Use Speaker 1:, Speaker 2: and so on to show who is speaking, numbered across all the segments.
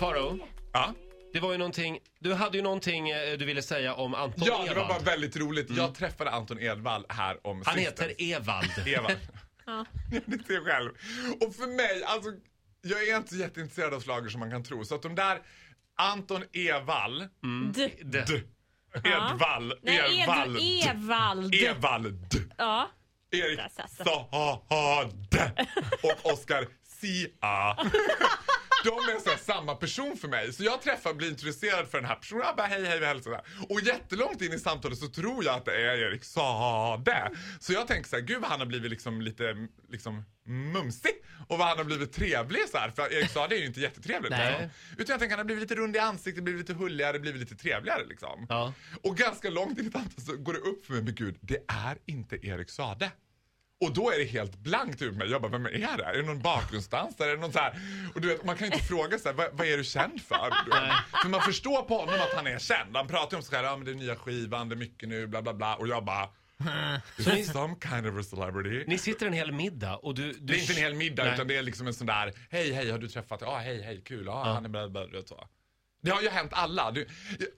Speaker 1: Faro,
Speaker 2: Ja.
Speaker 1: det var ju någonting, du hade ju någonting eh, du ville säga om Anton
Speaker 2: ja, det var
Speaker 1: Ewald.
Speaker 2: bara väldigt roligt. Jag träffade Anton Edvall här om
Speaker 1: Mm. Han
Speaker 2: sistens.
Speaker 1: heter E- Evald.
Speaker 2: Evald. Jag vet inte själv. Och för mig, alltså, jag är inte så jätteintresserad av schlager som man kan tro. Så att de där, Anton Evall,
Speaker 3: D-
Speaker 1: Mm.
Speaker 2: d, Edvall,
Speaker 3: Nej,
Speaker 2: Evald,
Speaker 3: Evald. Evald.
Speaker 2: Evald,
Speaker 3: ja.
Speaker 2: Erik
Speaker 3: Där satt den.
Speaker 2: Saad och Oscar Sia. De är så här samma person för mig. Så jag träffar blir intresserad för den här personen. Jag bara hej, hej, vi hälsar. där. Och jättelångt in i samtalet så tror jag att det är Erik Saade. Så jag tänker så här, gud vad han har blivit liksom lite liksom mumsig. Och vad han har blivit trevlig så här. För Erik Saade är ju inte jättetrevlig.
Speaker 1: Nej.
Speaker 2: Liksom. Utan jag tänker han har blivit lite rund i ansiktet, blivit lite hulligare, blivit lite trevligare liksom.
Speaker 1: Ja.
Speaker 2: Och ganska långt in i tanten så går det upp för mig, men gud, det är inte Erik Sade. Och då är det helt blankt ur mig. Jag bara, vem är det här? Är det någon bakgrundsdansare? Är det någon så här? Och du vet, man kan ju inte fråga så här, vad, vad är du känd för? Du vet. För man förstår på honom att han är känd. Han pratar ju om så här, ja men det är nya skivan, det är mycket nu, bla bla bla. Och jag bara, is he some kind of a celebrity?
Speaker 1: Ni sitter en hel middag och du... du
Speaker 2: det är inte en hel middag
Speaker 1: Nej.
Speaker 2: utan det är liksom en sån där, hej hej har du träffat, ja hej hej kul, ja han är bla bla bla. så. Det har ju hänt alla. Du,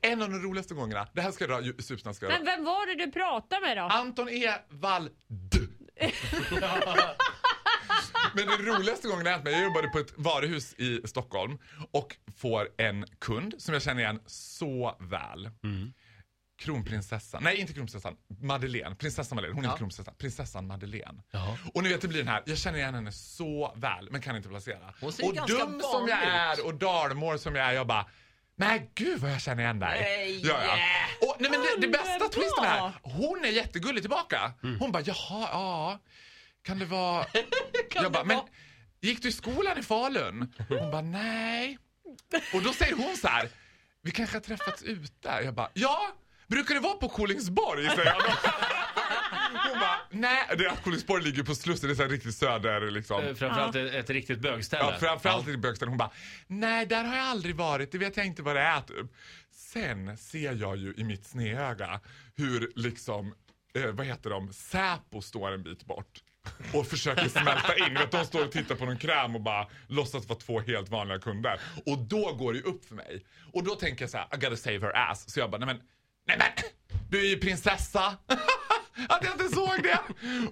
Speaker 2: en av de roligaste gångerna, det här ska jag dra, ju- Supersnack ska jag dra.
Speaker 3: Men vem var det du pratade med då?
Speaker 2: Anton E. Wald. Men den roligaste gången det hänt mig, jag jobbade på ett varuhus i Stockholm och får en kund som jag känner igen så väl. Kronprinsessan, nej inte kronprinsessan, Madeleine. Prinsessan Madeleine, hon är inte kronprinsessan. Prinsessan Madeleine.
Speaker 1: Jaha.
Speaker 2: Och ni vet det blir den här, jag känner igen henne så väl men kan inte placera.
Speaker 4: Hon ser
Speaker 2: och
Speaker 4: ganska
Speaker 2: dum som
Speaker 4: vanlig
Speaker 2: jag
Speaker 4: ut.
Speaker 2: är och dalmål som jag är, jag bara Nej gud vad jag känner igen dig.
Speaker 4: Nej.
Speaker 2: Ja, ja. Och, nej, men det, det bästa
Speaker 3: Underbart.
Speaker 2: twisten här, hon är jättegullig tillbaka. Hon bara, jaha, ja. Kan det vara... jag bara, men gick du i skolan i Falun? Hon bara, nej. Och då säger hon så här, vi kanske har träffats ute. Jag bara, ja. Brukar det vara på Kolingsborg? Säger jag. Hon bara, nej. Det är att Kolingsborg ligger på Slussen, det är så här riktigt söder liksom.
Speaker 1: Eh, Framförallt ett, ett riktigt bögställe.
Speaker 2: Ja, framförallt i Bögstaden. Hon bara, nej där har jag aldrig varit, det vet jag inte vad det är typ. Sen ser jag ju i mitt snedöga hur liksom, eh, vad heter de, Säpo står en bit bort. Och försöker smälta in. Vet, de står och tittar på någon kräm och bara låtsas vara två helt vanliga kunder. Och då går det ju upp för mig. Och då tänker jag så här, I gotta save her ass. Så jag bara, nej men, nej men, du är ju prinsessa. Att jag inte såg det!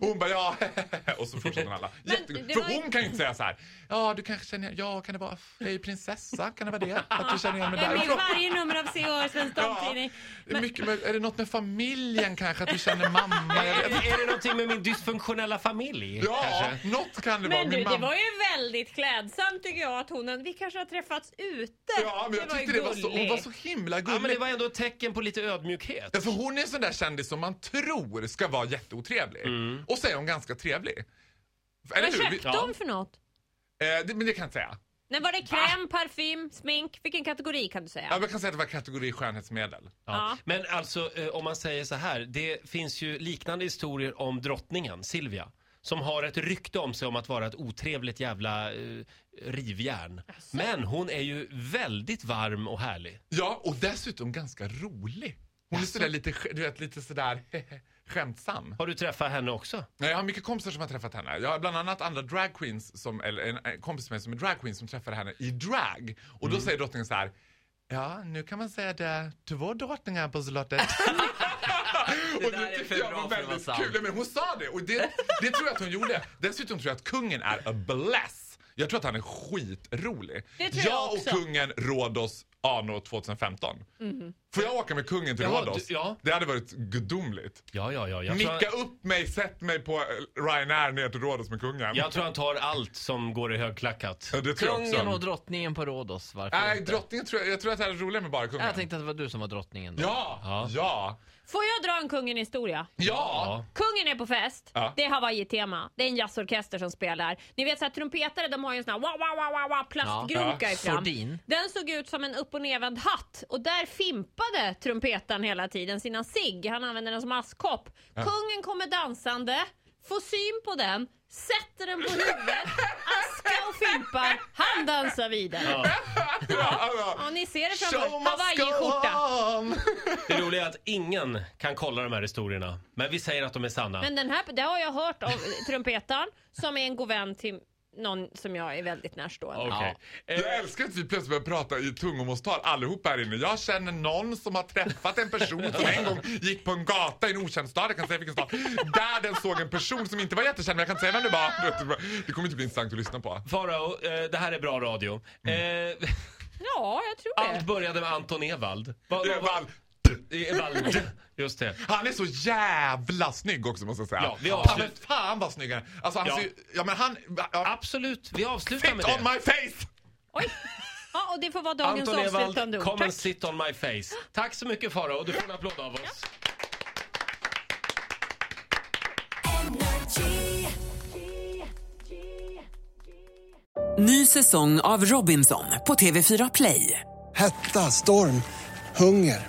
Speaker 2: Och hon bara ja, och så fortsätter alla. Jättegod.
Speaker 3: det
Speaker 2: För
Speaker 3: var ju-
Speaker 2: hon kan ju inte säga så här. Ja, du kanske känner ja, kan det vara, jag är ju prinsessa, kan det vara det? Att du känner igen mig
Speaker 3: Jag är med i
Speaker 2: därifrån?
Speaker 3: varje nummer av Se och Hör Svensk
Speaker 2: Ja,
Speaker 3: Damtidning.
Speaker 2: det är, mycket, med- är det något med familjen kanske, att du känner mamma? Jag
Speaker 1: Är,
Speaker 2: vet.
Speaker 1: är det någonting med min dysfunktionella familj?
Speaker 2: Ja,
Speaker 1: kanske?
Speaker 2: något kan det vara.
Speaker 3: Men
Speaker 2: Min
Speaker 3: du, det
Speaker 2: mamma.
Speaker 3: var ju väldigt klädsamt tycker jag att hon... Vi kanske har träffats ute.
Speaker 2: Ja, men jag
Speaker 3: ju
Speaker 2: tyckte det var så, hon
Speaker 3: gulligt.
Speaker 2: var så himla
Speaker 1: Ja, men det
Speaker 2: gullig.
Speaker 1: var ändå ett tecken på lite ödmjukhet.
Speaker 2: Ja, För hon är en sån där kändis som man tror ska vara jätteotrevlig. Och så är hon ganska trevlig. Eller
Speaker 3: Vad
Speaker 2: hur? Vi,
Speaker 3: köpte hon för något?
Speaker 2: eh, det, men det kan jag inte säga.
Speaker 3: Nej, var det kräm, parfym, smink? Vilken kategori kan du säga?
Speaker 2: Ja, men jag kan säga att det var kategori skönhetsmedel.
Speaker 1: Ja. Men alltså, eh, om man säger så här. Det finns ju liknande historier om drottningen, Silvia. Som har ett rykte om sig om att vara ett otrevligt jävla eh, rivjärn. Men hon är ju väldigt varm och härlig.
Speaker 2: Ja, och dessutom ganska rolig. Hon är sådär lite, sk- du vet, lite sådär skämtsam.
Speaker 1: Har du träffat henne också?
Speaker 2: Nej, jag har mycket kompisar som har träffat henne. Jag har bland annat andra drag queens som, eller en, en kompis med mig som är drag queen som träffade henne i drag. Och
Speaker 4: Mm.
Speaker 2: då säger drottningen så här. Ja, nu kan man säga det. Två drottningar på slottet. och
Speaker 4: där är för bra för att vara sant.
Speaker 2: kul. Nej, Men hon sa det och det, det tror jag att hon gjorde. Dessutom tror jag att kungen är a bless. Jag tror att han är skitrolig.
Speaker 3: Det tror jag också.
Speaker 2: och kungen Rhodos anno 2015.
Speaker 4: Mhm.
Speaker 2: Får jag åka med kungen till
Speaker 1: Jaha,
Speaker 2: Rhodos?
Speaker 1: du- ja.
Speaker 2: Det hade varit gudomligt.
Speaker 1: Ja, ja, ja. Jag tror,
Speaker 2: Nicka
Speaker 1: han,
Speaker 2: upp mig, sätt mig på eh, Ryanair ner till Rhodos med kungen.
Speaker 1: jag tror han tar allt som går i högklackat.
Speaker 2: Ja, det tror jag
Speaker 4: Kungen och
Speaker 2: också.
Speaker 4: drottningen på Rhodos, varför
Speaker 2: Nej,
Speaker 4: inte?
Speaker 2: drottningen tror jag, jag tror att det här är roligare med bara kungen.
Speaker 4: Jag tänkte att det var du som var drottningen då.
Speaker 2: Ja, ja, ja,
Speaker 3: Får jag dra en kungen-historia?
Speaker 2: ja.
Speaker 3: Kungen är på fest.
Speaker 2: Ja.
Speaker 3: Det är Hawaii-tema. Det är en jazzorkester som spelar. Ni vet så här, trumpetare de har ju en sån här wow, wow, wow, wow, wow, plastgrunka
Speaker 2: Ja.
Speaker 3: i fram.
Speaker 4: Sordin.
Speaker 3: Den såg ut som en upp och nedvänd hatt och där fimpade trumpetaren hela tiden sina cigg. Han använde den som askkopp. Kungen kommer dansande, får syn på den, sätter den på huvudet, aska och fimpar. Han dansar vidare.
Speaker 2: alltså,
Speaker 3: Ja, ni ser det framför
Speaker 2: Show must go
Speaker 3: Hawaii-skjorta.
Speaker 2: on!
Speaker 1: Det roliga är att ingen kan kolla de här historierna. Men vi säger att de är sanna.
Speaker 3: Men den här, det har jag hört av trumpetaren som är en god vän till någon som jag är väldigt närstående.
Speaker 1: Okej.
Speaker 2: Jag
Speaker 1: Eh,
Speaker 2: älskar att vi plötsligt börjar prata i tungomålstal allihopa här inne. Jag känner någon som har träffat en person som en gång gick på en gata i en okänd stad, jag kan inte säga vilken stad, där den såg en person som inte var jättekänd men jag kan inte säga vem det var. Det kommer inte bli intressant att lyssna på.
Speaker 1: Farao, eh, det här är bra radio. Eh,
Speaker 3: Ja, jag tror det.
Speaker 1: allt började med Anton Ewald. Va, va, va,
Speaker 2: Evald,
Speaker 1: Ewald, just det.
Speaker 2: han är så jävla snygg också måste jag säga.
Speaker 1: Ja, vi har-
Speaker 2: men fan vad snygg han är. Alltså han
Speaker 1: Ja.
Speaker 2: ser ju- ja men han, ja,
Speaker 1: Absolut, vi avslutar med
Speaker 2: fit on
Speaker 1: det.
Speaker 2: my face!
Speaker 3: Oj. Ja, och det får vara dagens
Speaker 1: Anton
Speaker 3: avslutande
Speaker 1: Ewald,
Speaker 3: ord.
Speaker 1: come
Speaker 3: Tack.
Speaker 1: and sit on my face. Tack så mycket Farao, du får en applåd av oss.
Speaker 5: Ny säsong av Robinson på TV4 Play.
Speaker 6: Hetta, storm, hunger.